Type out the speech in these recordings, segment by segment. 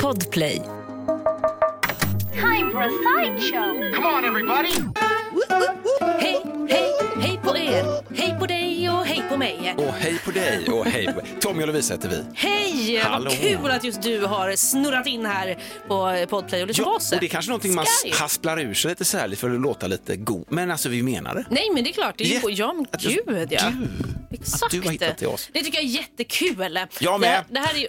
Podplay. Time for a sideshow. Come on, everybody! Hej, hej, hej på er! Hej på dig och hej på mig! Och hej på dig och hej på... Tommy och Lovisa heter vi. Hej! Hallå. Vad kul att just du har snurrat in här på eh, Podplay och lyssnar på Ja, oss. och det är kanske någonting man Sky. hasplar ur sig lite särligt för att låta lite god. Men alltså vi menar det. Nej, men det är klart. Det är ju Jätte- på... Ja, men att jag- gud ja. Exakt. du har hittat till oss. Det tycker jag är jättekul. Jag med. Det här, det här är ju...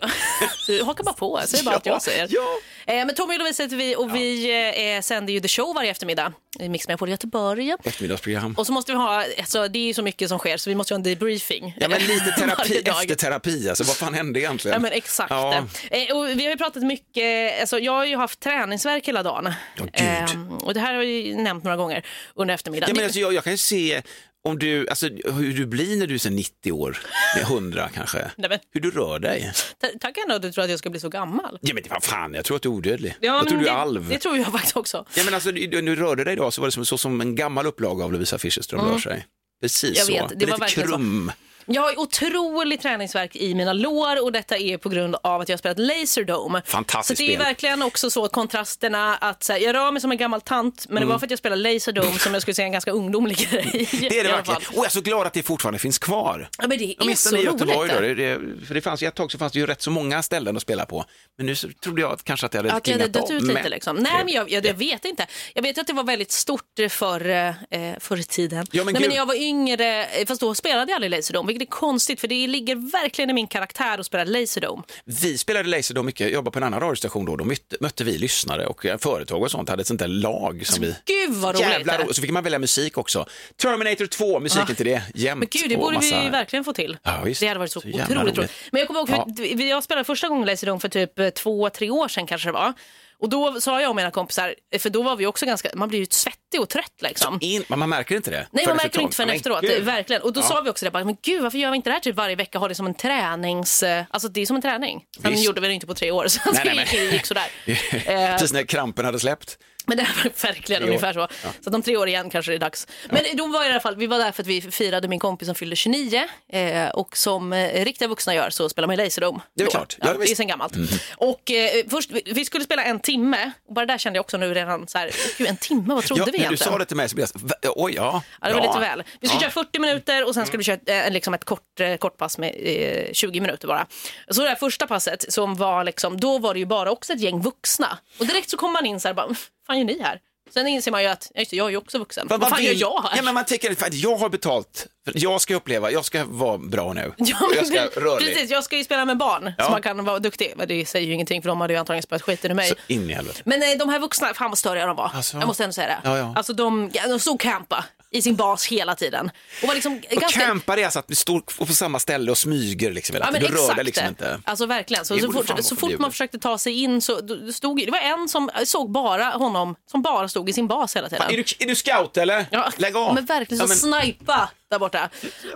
Du hakar bara på. Säger bara Ja, att jag säger. ja. Eh, men Tommy och Lovisa heter vi och vi eh, sänder ju The Show varje eftermiddag i Mix Megapol i Göteborg. Eftermiddagsprogram. Och så måste vi ha, alltså, det är ju så mycket som sker så vi måste ha en debriefing. Eh, Ja, men lite terapi varje dag. efter terapi. Alltså vad fan hände egentligen? Ja men exakt. Ja. Eh, och vi har ju pratat mycket, alltså, jag har ju haft träningsvärk hela dagen. Eh, Ja, gud. och det här har jag ju nämnt några gånger under eftermiddagen. Ja, men Det- alltså, jag, jag kan ju se om du, alltså, hur du blir när du är så 90 år, Nej, 100 kanske. Nej, men- Hur du rör dig. Ta- Tack ändå att du tror att jag ska bli så gammal. Ja men vad fan, jag tror att du är odödlig. Ja, jag men tror du är det, alv. Det tror jag faktiskt också. Ja, men alltså, du- när du rörde dig idag så var det som, så som en gammal upplaga av Lovisa Fischerström rör sig. Precis Mm. Jag så. vet, det är var lite verkligen så. krum. Jag har ju otrolig träningsvärk i mina lår och detta är på grund av att jag har spelat Laserdome. Fantastiskt Så det är spel. verkligen också så kontrasterna att så här, jag rör mig som en gammal tant men det var för att jag spelade Laserdome som jag skulle säga en ganska ungdomlig grej. Mm. Det är det i alla fall. verkligen. Och jag är så glad att det fortfarande finns kvar. Ja, men det är så Åtminstone i Göteborg roligt. då. det. Det, det, för det fanns, ju- ett tag så fanns det ju rätt så många ställen att spela på. Men nu så trodde jag att kanske att det hade Att det hade klingat dött av. ut Men- lite liksom. Nej men jag, jag, jag vet inte. Jag vet att det var väldigt stort eh, förr, eh, förr i tiden. Ja, men Nej, men gud. när jag var yngre, eh, fast då spelade jag aldrig Laserdome vilket är konstigt för det ligger verkligen i min karaktär att spela Laserdome. eh, Vi spelade Laser då mycket, jag jobbade på en annan radiostation då, då mötte, mötte vi lyssnare och eh, företag och sånt hade ett sånt där lag som vi... Gud vad roligt! Jävlar, det är. roligt. så fick man välja musik också. Terminator 2, musiken till det, jämt. Ah. Men gud, det och borde vi massa- verkligen få till. Ja, visst. Det hade varit så, Så jävla otroligt roligt. roligt. Men jag kommer ihåg, Ja. för vi- jag spelade första gången Lazy Dome för typ eh, två, tre år sedan kanske det var. Och då sa jag och mina kompisar, eh, för då var vi också ganska, man blir ju svettig och trött liksom. In, men man märker inte det. Nej, man förrän märker det efter inte förrän tag. efteråt. Men gud. Verkligen. Och då Ja. sa vi också det, bara, men gud varför gör vi inte det här typ varje vecka? Har det som en tränings... eh, Alltså det är som en träning. Sen Visst. gjorde vi det inte på tre år, så Nej, nej, det gick, men- gick sådär. Eh, Precis när krampen hade släppt. men det var verkligen Tre år. ungefär så. Så att om tre år igen kanske det är dags. Men då var jag i alla fall, vi var där för att vi firade min kompis som fyllde 29 eh, och som eh, riktiga vuxna gör så spelar man ju Laserdome. Det är Då. klart. Ja, Ja, det är visst. Mhm. sen gammalt. Och eh, först, vi- vi skulle spela en timme och bara där kände jag också nu redan så här, gud en timme, vad trodde Ja, vi när du egentligen? sa det till mig så blev jag så- "Va? oj ja. Ja, det var ja. lite väl. Vi skulle Ja. Mm. köra 40 minuter och sen skulle vi köra ett, eh, liksom ett kort, eh, kortpass med eh, 20 minuter bara. Så det här första passet, som var liksom, då var det ju bara också ett gäng vuxna. Och direkt så kom man in så här, bara, "Vad fan gör ni här? Sen inser man ju att, ja, just det, jag är ju också vuxen. Vad Men man fan gör vill- jag här? Ja, men man tänker fan, jag har betalt, för jag ska uppleva, jag ska vara bra nu. Ja, Och men jag ska pre- röra mig. Precis, jag ska ju spela med barn så Ja. man kan vara duktig. Men det säger ju ingenting för de hade ju antagligen spelat skiten ur mig. Så in i helvete. Men eh, de här vuxna, fan vad störiga de var. Alltså. jag måste ändå säga det. Ja, ja. Alltså de, ja, de stod och campa i sin bas hela tiden. Och var liksom Och ganska... campar är alltså att vi står på samma ställe och smyger liksom hela Ja, men tiden. Du rör dig exakt. liksom inte. Alltså verkligen. Så, Det så borde fan fort, vara så fort förbjudet. man försökte ta sig in så då- då stod det var en som jag såg bara honom som bara stod i sin bas hela tiden. Är du, är du scout eller? Ja, Lägg av. Men verkligen, Ja, så men- snipa där borta.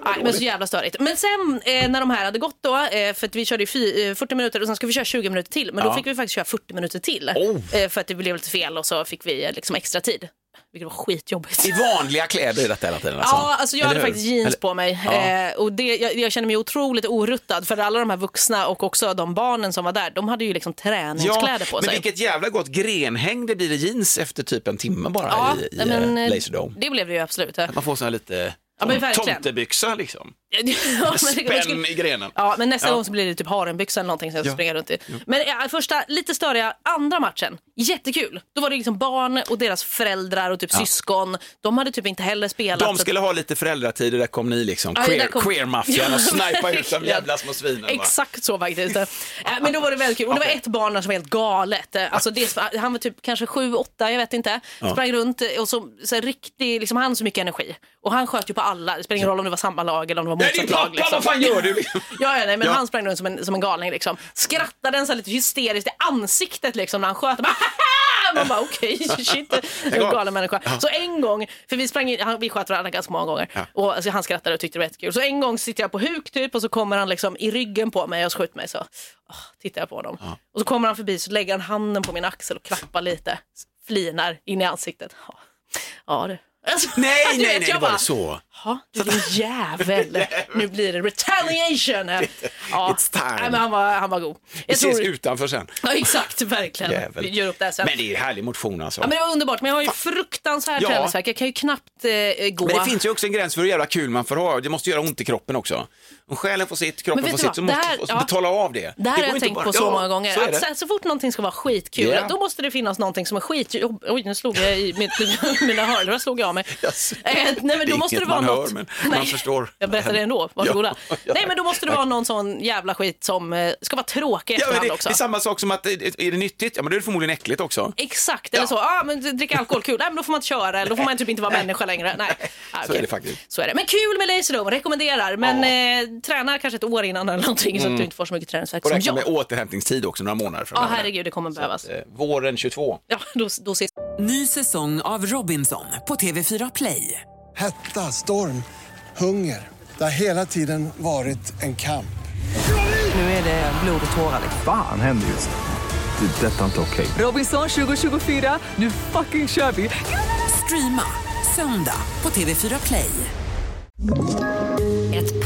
Nej, men så jävla störigt. Men sen eh, när de här hade gått då, eh, för att vi körde ju fy, eh, 40 minuter och sen ska vi köra 20 minuter till, men då Ja. fick vi faktiskt köra 40 minuter till. Oh. Eh, för att det blev lite fel och så fick vi eh, liksom extra tid. Vilket var skitjobbigt. I vanliga kläder i detta hela tiden alltså. Ja, alltså jag hade Eller hur? faktiskt jeans Eller- på mig. Ja. Eh, och det, jag, jag kände mig otroligt oruttad för alla de här vuxna och också de barnen som var där, de hade ju liksom träningskläder på men sig. vilket jävla gott grenhäng det blir i jeans efter typ en timme bara Ja, i, i nej, men, eh, eh, Laserdome. Det blev det ju absolut. Ja, Man får såna här lite Ja, men verkligen. tomtebyxa liksom. men det- Spänn i grenen. Ja, men nästa Ja. gång så blir det typ harenbyxa eller någonting som jag Ja. springer runt i. Men ja, första, lite störiga, andra matchen, jättekul. Då var det liksom barn och deras föräldrar och typ syskon. De hade typ inte heller spelat. De så- skulle ha lite föräldratid och där kom ni liksom, Ja, queer, där kom- queer-maffian Ja, och snipa ut de verkligen. jävla små svinen. va? Exakt så faktiskt. Äh, Men då var det väldigt kul. Och det var ett barn där som var helt galet. Äh, Alltså det, han var typ kanske sju, åtta, jag vet inte. Sprang runt eh, och så, så här, riktig, liksom han hade så mycket energi. Och han sköt ju på alla. Det spelar ingen roll om det var samma lag eller om det var Nej, motsatt din lag. liksom. pappa, vad fan gör du? Ja, ja, nej, men Ja. han sprang runt som en, som en galning liksom. Skrattade en så här lite hysteriskt i ansiktet liksom när han sköt. Bara, "Haha!" Man bara okej, shit, en av. galen människa. Så en gång, för vi sprang in, han, vi sköt varandra ganska många gånger och alltså, han skrattade och tyckte det var jättekul. Så en gång sitter jag på huk typ och så kommer han liksom i ryggen på mig och skjuter mig så åh, tittar jag på honom. Och så kommer han förbi så lägger han handen på min axel och klappar lite, flinar in i ansiktet. Ja, ja du. Alltså, Nej, du nej, vet, nej, jag det var det så. Ja, du din jävel. nu blir det retaliation. här." Ja. It's time. Nej, men han, var, han var god. Vi Jag ses tror, utanför sen. ja, exakt, verkligen. Jävel. Vi gör upp det här sen. Men det är ju härlig motion alltså. Ja, men det var underbart, men jag har ju fruktansvärd Ja. träningsvärk. Jag kan ju knappt eh, gå. Men det finns ju också en gräns för hur jävla kul man får ha. Det måste göra ont i kroppen också. Om själen får sitt, kroppen vet får du sitt, vad? så Det måste här- man ja. betala av det. Det går här har jag inte tänkt bara- på så Ja, många gånger. Så är att så, det. här, så fort någonting ska vara skitkul, Ja. då måste det finnas någonting som är skitjobb. Oj, nu slog jag i mitt, mina hörlurar. slog jag av mig. Yes. Eh, nej, men Det då är måste det inget vara man hör, något. men man förstår. Jag berättar det ändå, varsågoda. Ja, ja. Nej, men då måste det vara någon sån jävla skit som eh, ska vara tråkig Ja, men efterhand det, också. det är samma sak som att, eh, är det nyttigt? Ja, men då är det förmodligen äckligt också. Exakt, eller Ja. så. Ah, men dricka alkohol, kul. Nej, men då får man inte köra, eller då får man typ inte vara människa längre. Nej. Ah, Så okej. är det faktiskt. Så är det. Men kul med Lazerdome, rekommenderar. Men eh, tränar kanske ett år innan eller någonting så att du inte får så mycket träningsvärk Och som Mm. räkna jag. med Ja, återhämtningstid också, några månader ah, framöver. herregud, det kommer behövas. Eh, Våren 22. Ja, då, då ses Ny säsong av Robinson på TV4 Play. Hetta, storm, hunger. Det har hela tiden varit en kamp. Nu är det blod och tårar. Fan händer just nu. Det. är Detta är inte okej. Robinson 2024, nu fucking kör vi! Streama söndag på TV4 Play. Ett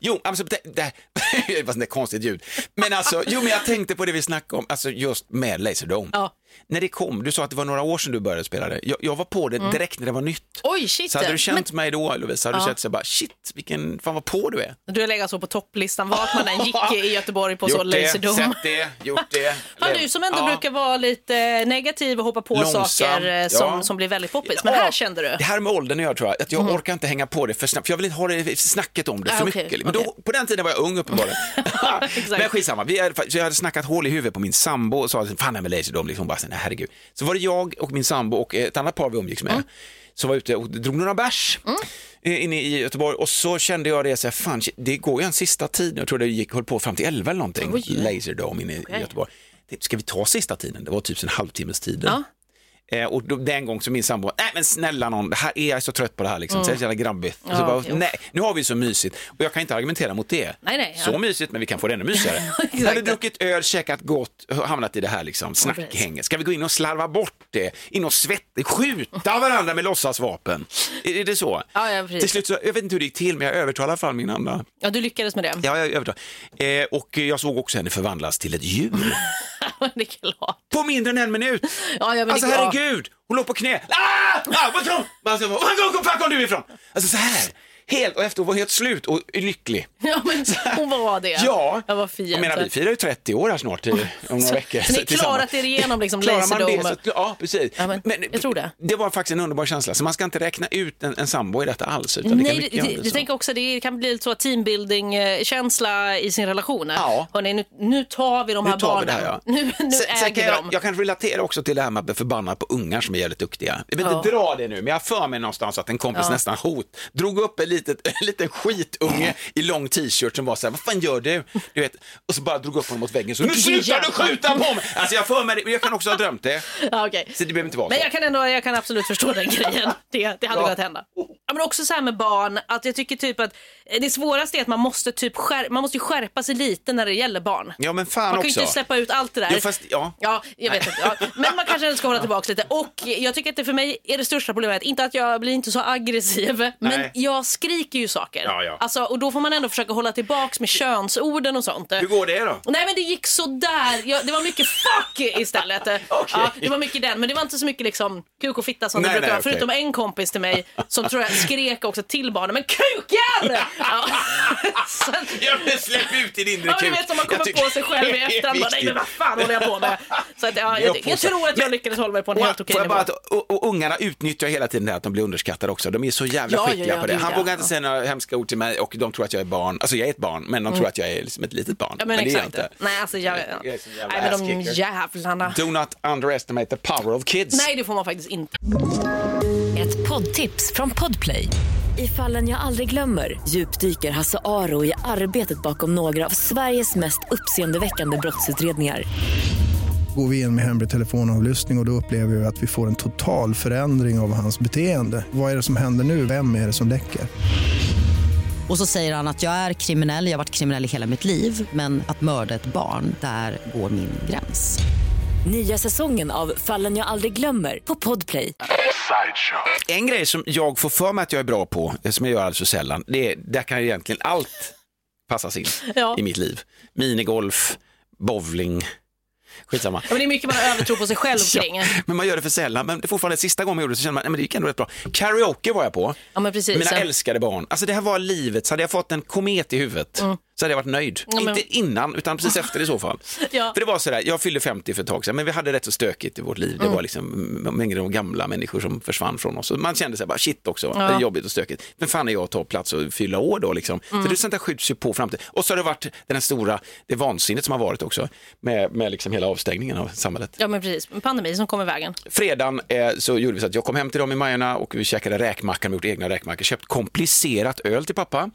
Jo, alltså, det, det, det var ett konstigt ljud. Men alltså, jo, men jag tänkte på det vi snackade om, alltså just med Laserdome. Ja. När det kom, du sa att det var några år sedan du började spela det. Jag, jag var på det direkt när det var nytt. Mm. Oj, shit. Så hade du känt Men- mig då Lovisa, hade du känt så här bara shit, vilken, fan vad på du är. Du har legat så på topplistan vart man än gick i Göteborg på så Gjort det, Lazerdome. sett det, gjort det. Fan, du som ändå Ja. brukar vara lite negativ och hoppa på Långsam, saker eh, som, ja. som blir väldigt poppis. Men här kände du? Mm. Det här med åldern gör tror jag, att jag orkar inte hänga på det för snabbt, för jag vill inte ha det snacket om det Ah, för okej, mycket. Men då, okej. på den tiden var jag ung uppenbarligen. Men skitsamma, vi hade, så jag hade snackat hål i huvudet på min sambo och sa, fan det här med laserdom, liksom, Hon bara, nej, herregud. Så var det jag och min sambo och ett annat par vi umgicks Mm. med, som var ute och drog några bärs eh, inne i Göteborg och så kände jag det, så här, fan shit, det går ju en sista tid nu, jag tror det gick, höll på fram till 11 eller någonting, laserdom inne i Göteborg. Det- Ska vi ta sista tiden? Det var typ en halvtimmes tid. Ja. Eh, och då, den gång så min sambo, nej men snälla någon, det här är jag är så trött på det här liksom, så jävla grabbigt. Och så Ja, bara, okej. nej, nu har vi så mysigt och jag kan inte argumentera mot det. Nej, nej, så ja. mysigt men vi kan få det ännu mysigare. Exakt. Hade druckit öl, käkat gott, hamnat i det här liksom snackhänget. Ska vi gå in och slarva bort det? In och svett, skjuta varandra med låtsasvapen? Är, är det så? Ja, ja, precis. till slut så, jag vet inte hur det gick till men jag övertalade i alla fall min andra Ja, du lyckades med det. Ja, jag övertalade. Eh, och jag såg också henne förvandlas till ett djur. det är klart. På mindre än en minut! Ja, ja, men Alltså det, ja. herregud, hon låg på knä. Ah! Ah, vad kom? Alltså, var kom, kom, var kom du ifrån? Alltså så här, helt och efter hon var helt slut och lycklig. Ja, men hon var det. Ja, jag var fin. jag menar vi firar ju 30 år här snart i, om några veckor. så ni har tillsammans. klarat er igenom liksom Klarar man det Laserdome? så, ja precis. Ja, men jag tror det. Det var faktiskt en underbar känsla, så man ska inte räkna ut en, en sambo i detta alls. Utan det kan Nej, mycket det, göra det det, det så. tänker jag också, det kan bli lite så teambuilding-känsla i sin relation. Ja. Hörrni, nu, nu tar vi de nu här tar barnen. vi det här ja. Nu, nu sen, sen äger kan vi jag, dem. jag kan relatera också till det här med att bli förbannad på ungar som är jävligt duktiga. Jag vill inte dra det nu, men jag har för mig någonstans att en kompis nästan hot, drog upp en, litet, en liten skitunge i lång t-shirt som var så här, vad fan gör du? du vet, och så bara drog upp honom mot väggen, så nu slutar du skjuta på mig! Alltså jag har för mig det, men jag kan också ha drömt det. Ja, okej. Så det behöver inte vara Men så. jag kan, ändå, jag kan absolut förstå den grejen. Det, det hade Ja. kunnat hända. Ja, men också så här med barn, att jag tycker typ att eh, det svåraste är att man måste, typ skär, man måste ju skärpa sig lite när det gäller barn. Ja men fan Man kan ju också. inte släppa ut allt det där. Jo, fast, ja. Ja, jag vet inte. Ja. Men man kanske ska hålla tillbaka lite. Och jag tycker att det för mig är det största problemet, inte att jag blir inte så aggressiv, men Nej. jag skriker ju saker. Ja, ja. Alltså, och då får man ändå försöka hålla tillbaka med könsorden och sånt. Hur går det då? Nej men det gick sådär. Jag, det var mycket fuck istället. ja, det var mycket den, men det var inte så mycket liksom kuk och fitta som det Nej, brukar nej, vara. okej. Förutom en kompis till mig som tror jag skrek också till barnen, men kukar! Ja. Så att- Ja men släpp ut din inre Ja, men du vet som man kommer på sig själv i efterhand. Bara, Nej, men vad fan håller jag på med? Så att, ja, jag, jag tror att jag lyckades hålla mig på en helt okej Får jag nivå. bara att, och, och ungarna utnyttjar hela tiden det här att de blir underskattade också. De är så jävla Ja, ja, skickliga ja, på det. gud, Han ja. vågar inte Ja. säga några hemska ord till mig och de tror att jag är barn. Alltså jag är ett barn, men de tror att jag är liksom ett litet barn. Mm. Ja, men, det är jag exakt. inte. Nej, alltså, jag, Jag är så jävla nej, men de ass-kicker. jävlarna. Do not underestimate the power of kids. Nej, det får man faktiskt inte. Ett poddtips från Podplay. I fallen jag aldrig glömmer djupdyker Hasse Aro i arbetet bakom några av Sveriges mest uppseendeväckande brottsutredningar. Går vi in med hemlig telefonavlyssning och, och då upplever vi att vi får en total förändring av hans beteende. Vad är det som händer nu? Vem är det som läcker? Och så säger han att jag är kriminell, jag har varit kriminell i hela mitt liv men att mörda ett barn, där går min gräns. Nya säsongen av Fallen jag aldrig glömmer på Podplay. En grej som jag får för mig att jag är bra på, eh, som jag gör alldeles för sällan, det är, där kan ju egentligen allt passas in Ja. i mitt liv. Minigolf, bowling, skitsamma. Ja, men det är mycket man har övertro på sig själv kring. Ja, men man gör det för sällan, men det är fortfarande sista gången jag gjorde det så kände man, nej men det gick ändå rätt bra. Karaoke var jag på, Ja, men precis. mina älskade barn. Alltså det här var livet, så hade jag fått en komet i huvudet så hade jag varit nöjd. Mm. men- Inte innan, utan precis efter i så fall. Ja. För det var sådär, jag fyllde 50 för ett tag sedan, men vi hade rätt så stökigt i vårt liv. Mm. Det var liksom m- mängder av gamla människor som försvann från oss. Och Man kände sig bara shit också, det är jobbigt och stökigt. Men fan är jag att ta plats och fylla år då liksom? Mm. Så det är sånt där skjuts ju på framtiden. Och så har det varit den här stora, det vansinnet som har varit också med, med liksom hela avstängningen av samhället Ja, men precis. En pandemi som kom i vägen. fredagen eh, så gjorde vi så att jag kom hem till dem i Majorna och vi käkade räkmacka, vi gjort egna räkmackor, köpt komplicerat öl till pappa.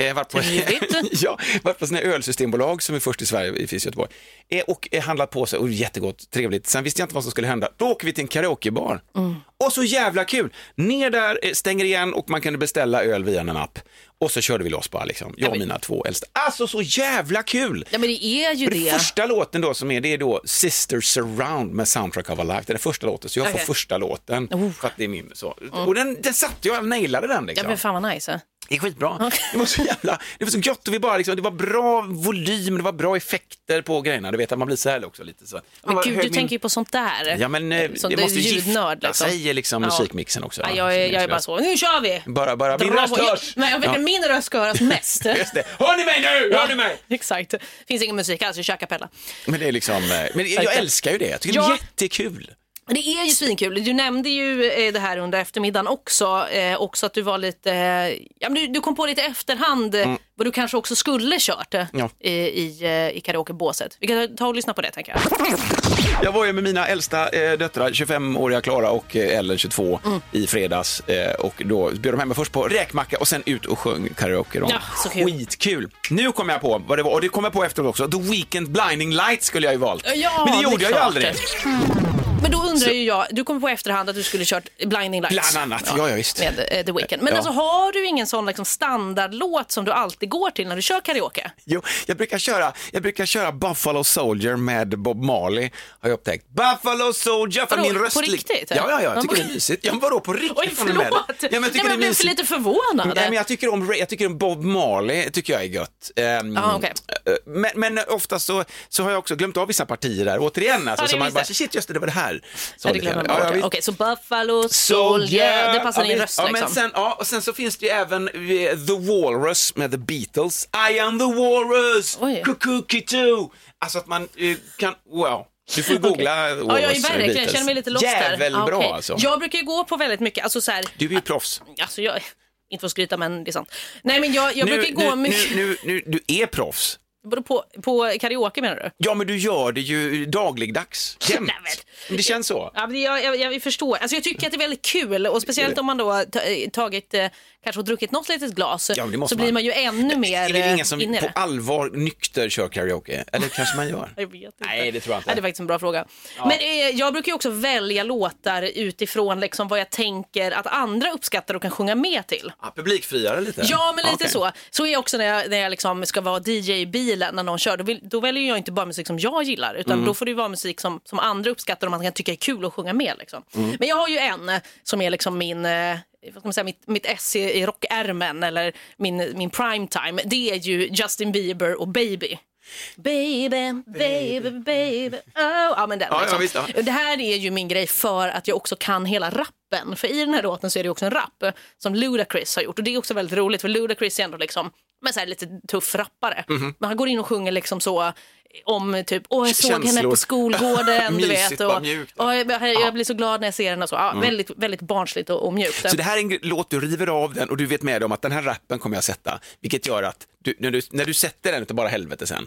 Eh, varit på, Trevligt. ja, varit på sådana här ölsystembolag som är först i Sverige, i finns i Göteborg. Eh, och eh, handlat på sig, och jättegott, trevligt. Sen visste jag inte vad som skulle hända. Då åker vi till en karaokebar. Och så jävla kul! Ner där, eh, stänger igen och man kunde beställa öl via en app. Och så körde vi loss bara, liksom. jag och mina två äldsta. Alltså så jävla kul! Ja, men det är ju Och det det. första låten då som är, det är då Sister Surround med Soundtrack of a Life. Det är den första låten, så jag Okej. Oh. får första låten. För att det är min så. Och den, den satte jag, jag nailade den Ja, liksom. men fan vad nice. Det är skitbra. Det var så jävla, det var så gött och vi bara liksom, det var bra volym, det var bra effekter på grejerna. Du vet att man blir så här också lite så. Men Vad gud, hög du min- tänker ju på sånt där. Ja men eh, Sånt det där måste ju gifta ljudnörd, liksom. sig liksom Ja. musikmixen också. Ja, jag, är, jag är bara så, nu kör vi! Bara, bara, min Dra röst på- hörs! Nej, jag vet inte, Ja. min röst ska höras mest. Just det. Hör ni mig nu? Hör ni mig? Exakt. Finns ingen musik alls, vi kör a cappella. Men det är liksom, eh, men jag älskar ju det. Jag tycker det är Ja. jättekul. Det är ju svinkul. Du nämnde ju eh, det här under eftermiddagen också. Eh, också att du var lite... Eh, ja, men du, du kom på lite i efterhand eh, vad du kanske också skulle kört eh, Mm. Ja. i, i, eh, i karaokebåset. Vi kan ta och lyssna på det tänker jag. Jag var ju med mina äldsta eh, döttrar, 25-åriga Klara och eh, Ellen 22, Mm. i fredags. Eh, och då bjöd de hem mig först på räkmacka och sen ut och sjöng karaoke. Då. Ja, så kul. Skitkul! Nu kom jag på vad det var, och det kom jag på efteråt också. The Weekend Blinding Lights skulle jag ju valt. Ja, Men det gjorde det är jag ju klart. aldrig. Mm. Men då undrar ju jag, du kom på efterhand att du skulle kört Blinding Lights. Bland annat, ja, ja visst. Med eh, The Weeknd. Men Ja. alltså har du ingen sån liksom, standardlåt som du alltid går till när du kör karaoke? Jo, jag, brukar köra, jag brukar köra Buffalo Soldier med Bob Marley, har jag upptäckt. Buffalo Soldier! För Vadå, min på röst lik- riktigt? Ja, ja, ja, Man jag tycker det bara- är mysigt. Ja, men vadå på riktigt? Oj, Får ni med det? förlåt! Ja, men Nej, jag tycker det men är jag blev mysigt. lite förvånad. Nej, men jag tycker om jag tycker om Bob Marley, tycker jag är gött. Ehm, Ah, okej. eh, men, men oftast så, så har jag också glömt av vissa partier där, återigen. Alltså, det så man visste bara, jag. shit just det, det var det här. Så Ja, det lite glömmer grann. man bort. Ja, ja, Okej, visst. så Buffalo Soldier. Soldier, det passar Ja, din visst. röst ja, liksom. Men sen, äh, ja, och sen så finns det ju även eh, The Walrus med The Beatles. I am the walrus, Oj. cuckoo kitoo. Alltså att man eh, kan, wow. Du får ju googla eh, Walrus Ja, jag är och verkligen, jag Beatles. känner mig lite lost Jävel där. Ja, bra okej. alltså. Jag brukar ju gå på väldigt mycket, alltså så här, Du är ju proffs. alltså jag, inte för att skryta men det är sant. Nej men jag, jag nu, brukar gå nu, mycket, nu, nu, nu, du är proffs. Vadå, på, på karaoke menar du? Ja, men du gör det ju dagligdags, jämt. Nej, men- Det känns så. Ja, men jag, jag, jag förstår. Alltså, jag tycker att det är väldigt kul och speciellt om man då har ta, eh, tagit, eh, kanske har druckit något litet glas Ja, men det så måste blir man. man ju ännu mer är det eh, ingen som inne i på det. allvar nykter kör karaoke? Eller kanske man gör? Jag vet inte. Nej, det tror jag inte. Ja, det är faktiskt en bra fråga. Men eh, jag brukar ju också välja låtar utifrån liksom, vad jag tänker att andra uppskattar och kan sjunga med till. Ah, publikfriare lite? Ja, men lite Okej. så. Så är jag också när jag, när jag liksom ska vara DJ i bilen när någon kör. Då, vill, då väljer jag inte bara musik som jag gillar utan då får det ju vara musik som, som andra uppskattar och man kan tycka är kul att sjunga med. Liksom. Men jag har ju en eh, som är liksom min, eh, vad ska man säga, mitt, mitt S i, i rockärmen eller min, min prime time. Det är ju Justin Bieber och Baby. Baby, baby, baby, oh. Ja, men den, Ja, ja, liksom. visst, ja. Det här är ju min grej för att jag också kan hela rappen. För i den här låten så är det också en rap eh, som Ludacris har gjort. Och det är också väldigt roligt för Ludacris är ändå liksom, men så här lite tuff rappare. Mhm. Men han går in och sjunger liksom så eh, om typ, åh jag såg henne Känslor. på skolgården, du Mysigt, vet. bara Och, mjukt. Mm. "Åh, jag, jag blir så glad när jag ser henne och så. Ja, väldigt, väldigt barnsligt och, och mjukt. Så det här är en gr- låt, du river av den och du vet med dig om att den här rappen kommer jag sätta, vilket gör att du, när, du, när du sätter den utav bara helvete sen,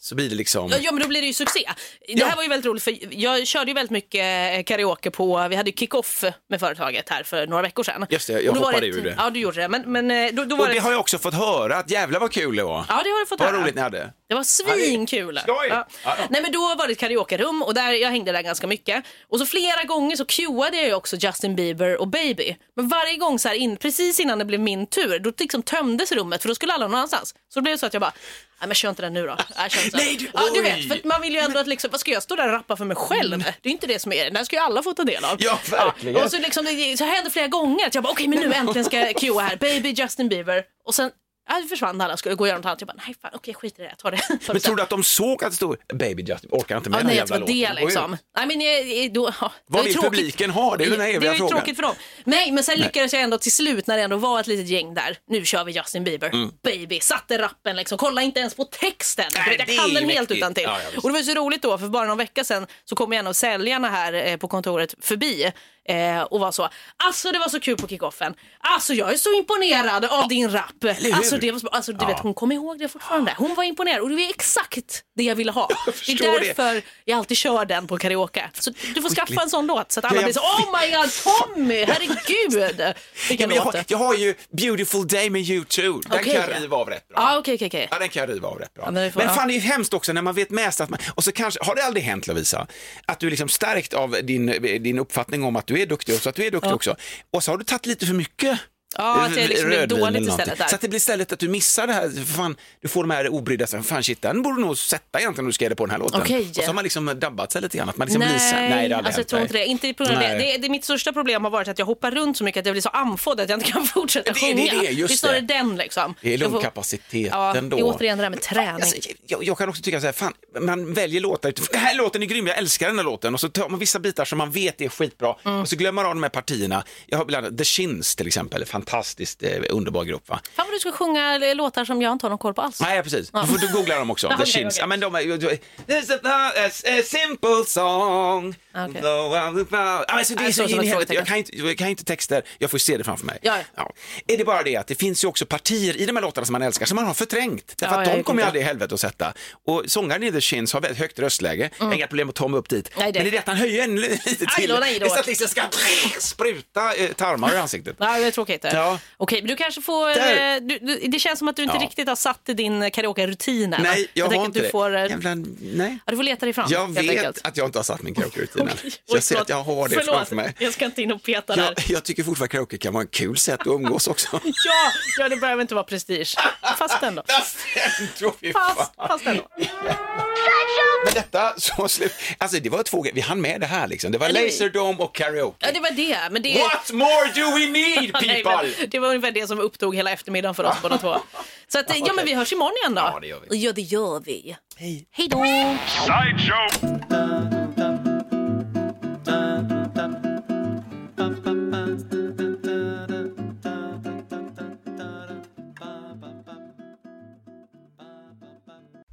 så blir det liksom... Ja, ja, men då blir det ju succé. Det Ja. här var ju väldigt roligt för jag körde ju väldigt mycket eh, karaoke på, vi hade ju kick-off med företaget här för några veckor sedan. Just det, jag Och då var hoppade ur det. Ja, du gjorde det. Men, men eh, då, då var Och det det... har jag också fått höra, att jävla vad kul det var. Ja, det har du fått vad höra. roligt ni hade. Det var svinkul. Ja, det är skoj. Ja. Ja. Nej, men då var det ett karaokerum och där, jag hängde där ganska mycket. Och så flera gånger så cueade jag ju också Justin Bieber och Baby. Men varje gång så här in, precis innan det blev min tur, då liksom tömdes rummet för då skulle alla någon annanstans. Så det blev så att jag bara, nej men kör inte den nu då. Nej, kör inte. den. Nej, du- ja, du oj. Mm. vet, för att man vill ju ändå att liksom, vad ska jag stå där och rappa för mig själv? Det är inte det som är det, det här ska ju alla få ta del av. Ja, verkligen. Och så, liksom, det- så hände flera gånger att jag bara, okej men nu äntligen ska jag cuea här, Baby, Justin Bieber. Och sen, ja, det försvann alla, skulle gå och göra något annat. Jag bara, nej fan, okej skit i det, jag tar det. Tar det sen. Men tror du att de såg att det stod Baby Justin, orkar inte med Ja, den nej, att jävla det var låten. det går ju. liksom. Nej, men, eh, eh, då, ja, det Vad var ju vill tråkigt. publiken ha? Det är ju den här Det eviga var ju frågan. tråkigt för dem. Nej, men sen lyckades jag ändå till slut när det ändå var ett litet gäng där. Nu kör vi Justin Bieber. Baby, satte rappen liksom. Kolla inte ens på texten. Mm. Du Nej, vet, det jag är kan ju den helt mäktigt. utan till. Ja, ja, visst. och det var ju så roligt då, för bara någon vecka sedan så kom en av säljarna här eh, på kontoret förbi eh, och var så. Alltså det var så kul på kickoffen. Alltså jag är så imponerad av din rap. hur? Alltså, det var så, alltså du vet, hon kommer ihåg det fortfarande. Hon var imponerad och det var exakt det jag ville ha. Det förstår är det. därför jag alltid kör den på karaoke. Så du får skaffa en sån låt så att alla Ja, jag blir så Oh my god Tommy, herregud! Ja, Vilken men jag, låt har, det jag har ju Beautiful Day med U2. Den Okej. kan jag riva av rätt bra. Ja, Ah, okej, okej, okej. Ja, den kan jag riva av rätt bra. Ja, men vi men får- ja. fan, det är ju hemskt också när man vet mest att man... Och så kanske, har det aldrig hänt Lovisa, att du är liksom stärkt av din, din uppfattning om att du är duktig och så att du är duktig också. Och så har du tagit lite för mycket. Ja, att det liksom blir rödvin dåligt eller någonting. istället där. Så att det blir istället att du missar det här, för fan, du får de här obrydda, så här, fan shit, den borde du nog sätta egentligen om du ska ge det på den här låten. Okej. Och så har man liksom dabbat sig lite grann, att man liksom blir så här, Nej, nej det har aldrig alltså, jag hänt tror mig. inte det. Inte på grund av det. Nej. Det, är- det. Mitt största problem har varit att jag hoppar runt så mycket att jag blir så andfådd att jag inte kan fortsätta Det- det- sjunga. det är just är snarare det. den liksom. Det är Jag får- lungkapaciteten Ja, då. det är återigen det där med träning. Alltså, jag, jag kan också tycka så här, fan, man väljer låtar utifrån, den här låten är grym, jag älskar den här låten. Och så tar man vissa bitar som man vet är skitbra Mm. och så glömmer man av de här partierna. Jag har bland annat The Shins till exempel, fantastiskt eh, underbar grupp va? Fan vad du ska sjunga eh, låtar som jag inte har någon koll på alls. Nej, precis. Du får du googla dem också. The Okej, Shins. okej. Ja, men de är, There's a, a, a simple song. Okej. Though I'm about... Alltså, det är Nej, så så som in i ett helvete. frågetecken. Jag kan, inte, jag kan inte texter, jag får se det framför mig. Ja, ja. Är det bara det att det finns ju också partier i de här låtarna som man älskar som man har förträngt. Därför Ja, att jag de kommer ju vet. aldrig i helvete att sätta. Och sångaren i The Shins har väldigt högt röstläge. Jag har inga problem att ta mig upp dit. Mm. Nej, det- Men det är det att han höjer ännu lite till. Aj då, nej då. Istället att liksom ska spruta eh, tarmar i ansiktet. Ja, det är tråkigt. Ja. Ja. Okej, men du kanske får... Där. eh, Du, du, det känns som att du inte Ja. riktigt har satt din karaoke-rutin än. Nej, jag, tänker har att inte du det. Får, eh, Jävlar, nej. ja, du får leta dig fram. Jag helt vet enkelt. att jag inte har satt min karaoke-rutin än. Okej. Oj, Jag ser att jag har det förlåt. framför mig. Jag ska inte in och peta där. Jag, jag tycker fortfarande karaoke kan vara en kul sätt att umgås också. Ja, ja, det behöver inte vara prestige. Fast ändå. Fast ändå, fy fan. Fast, fast ändå. Men detta så slut. Alltså det var två grejer, vi hann med det här liksom. Det var Eller- Laserdome och karaoke. Ja, det var det. Men det... What more do we need Nej, people? men det var ungefär det som upptog hela eftermiddagen för oss båda två. Så att, eh, ja, men vi hörs imorgon igen då. Ja, det gör vi. Ja, det gör vi. Hej. Hej då.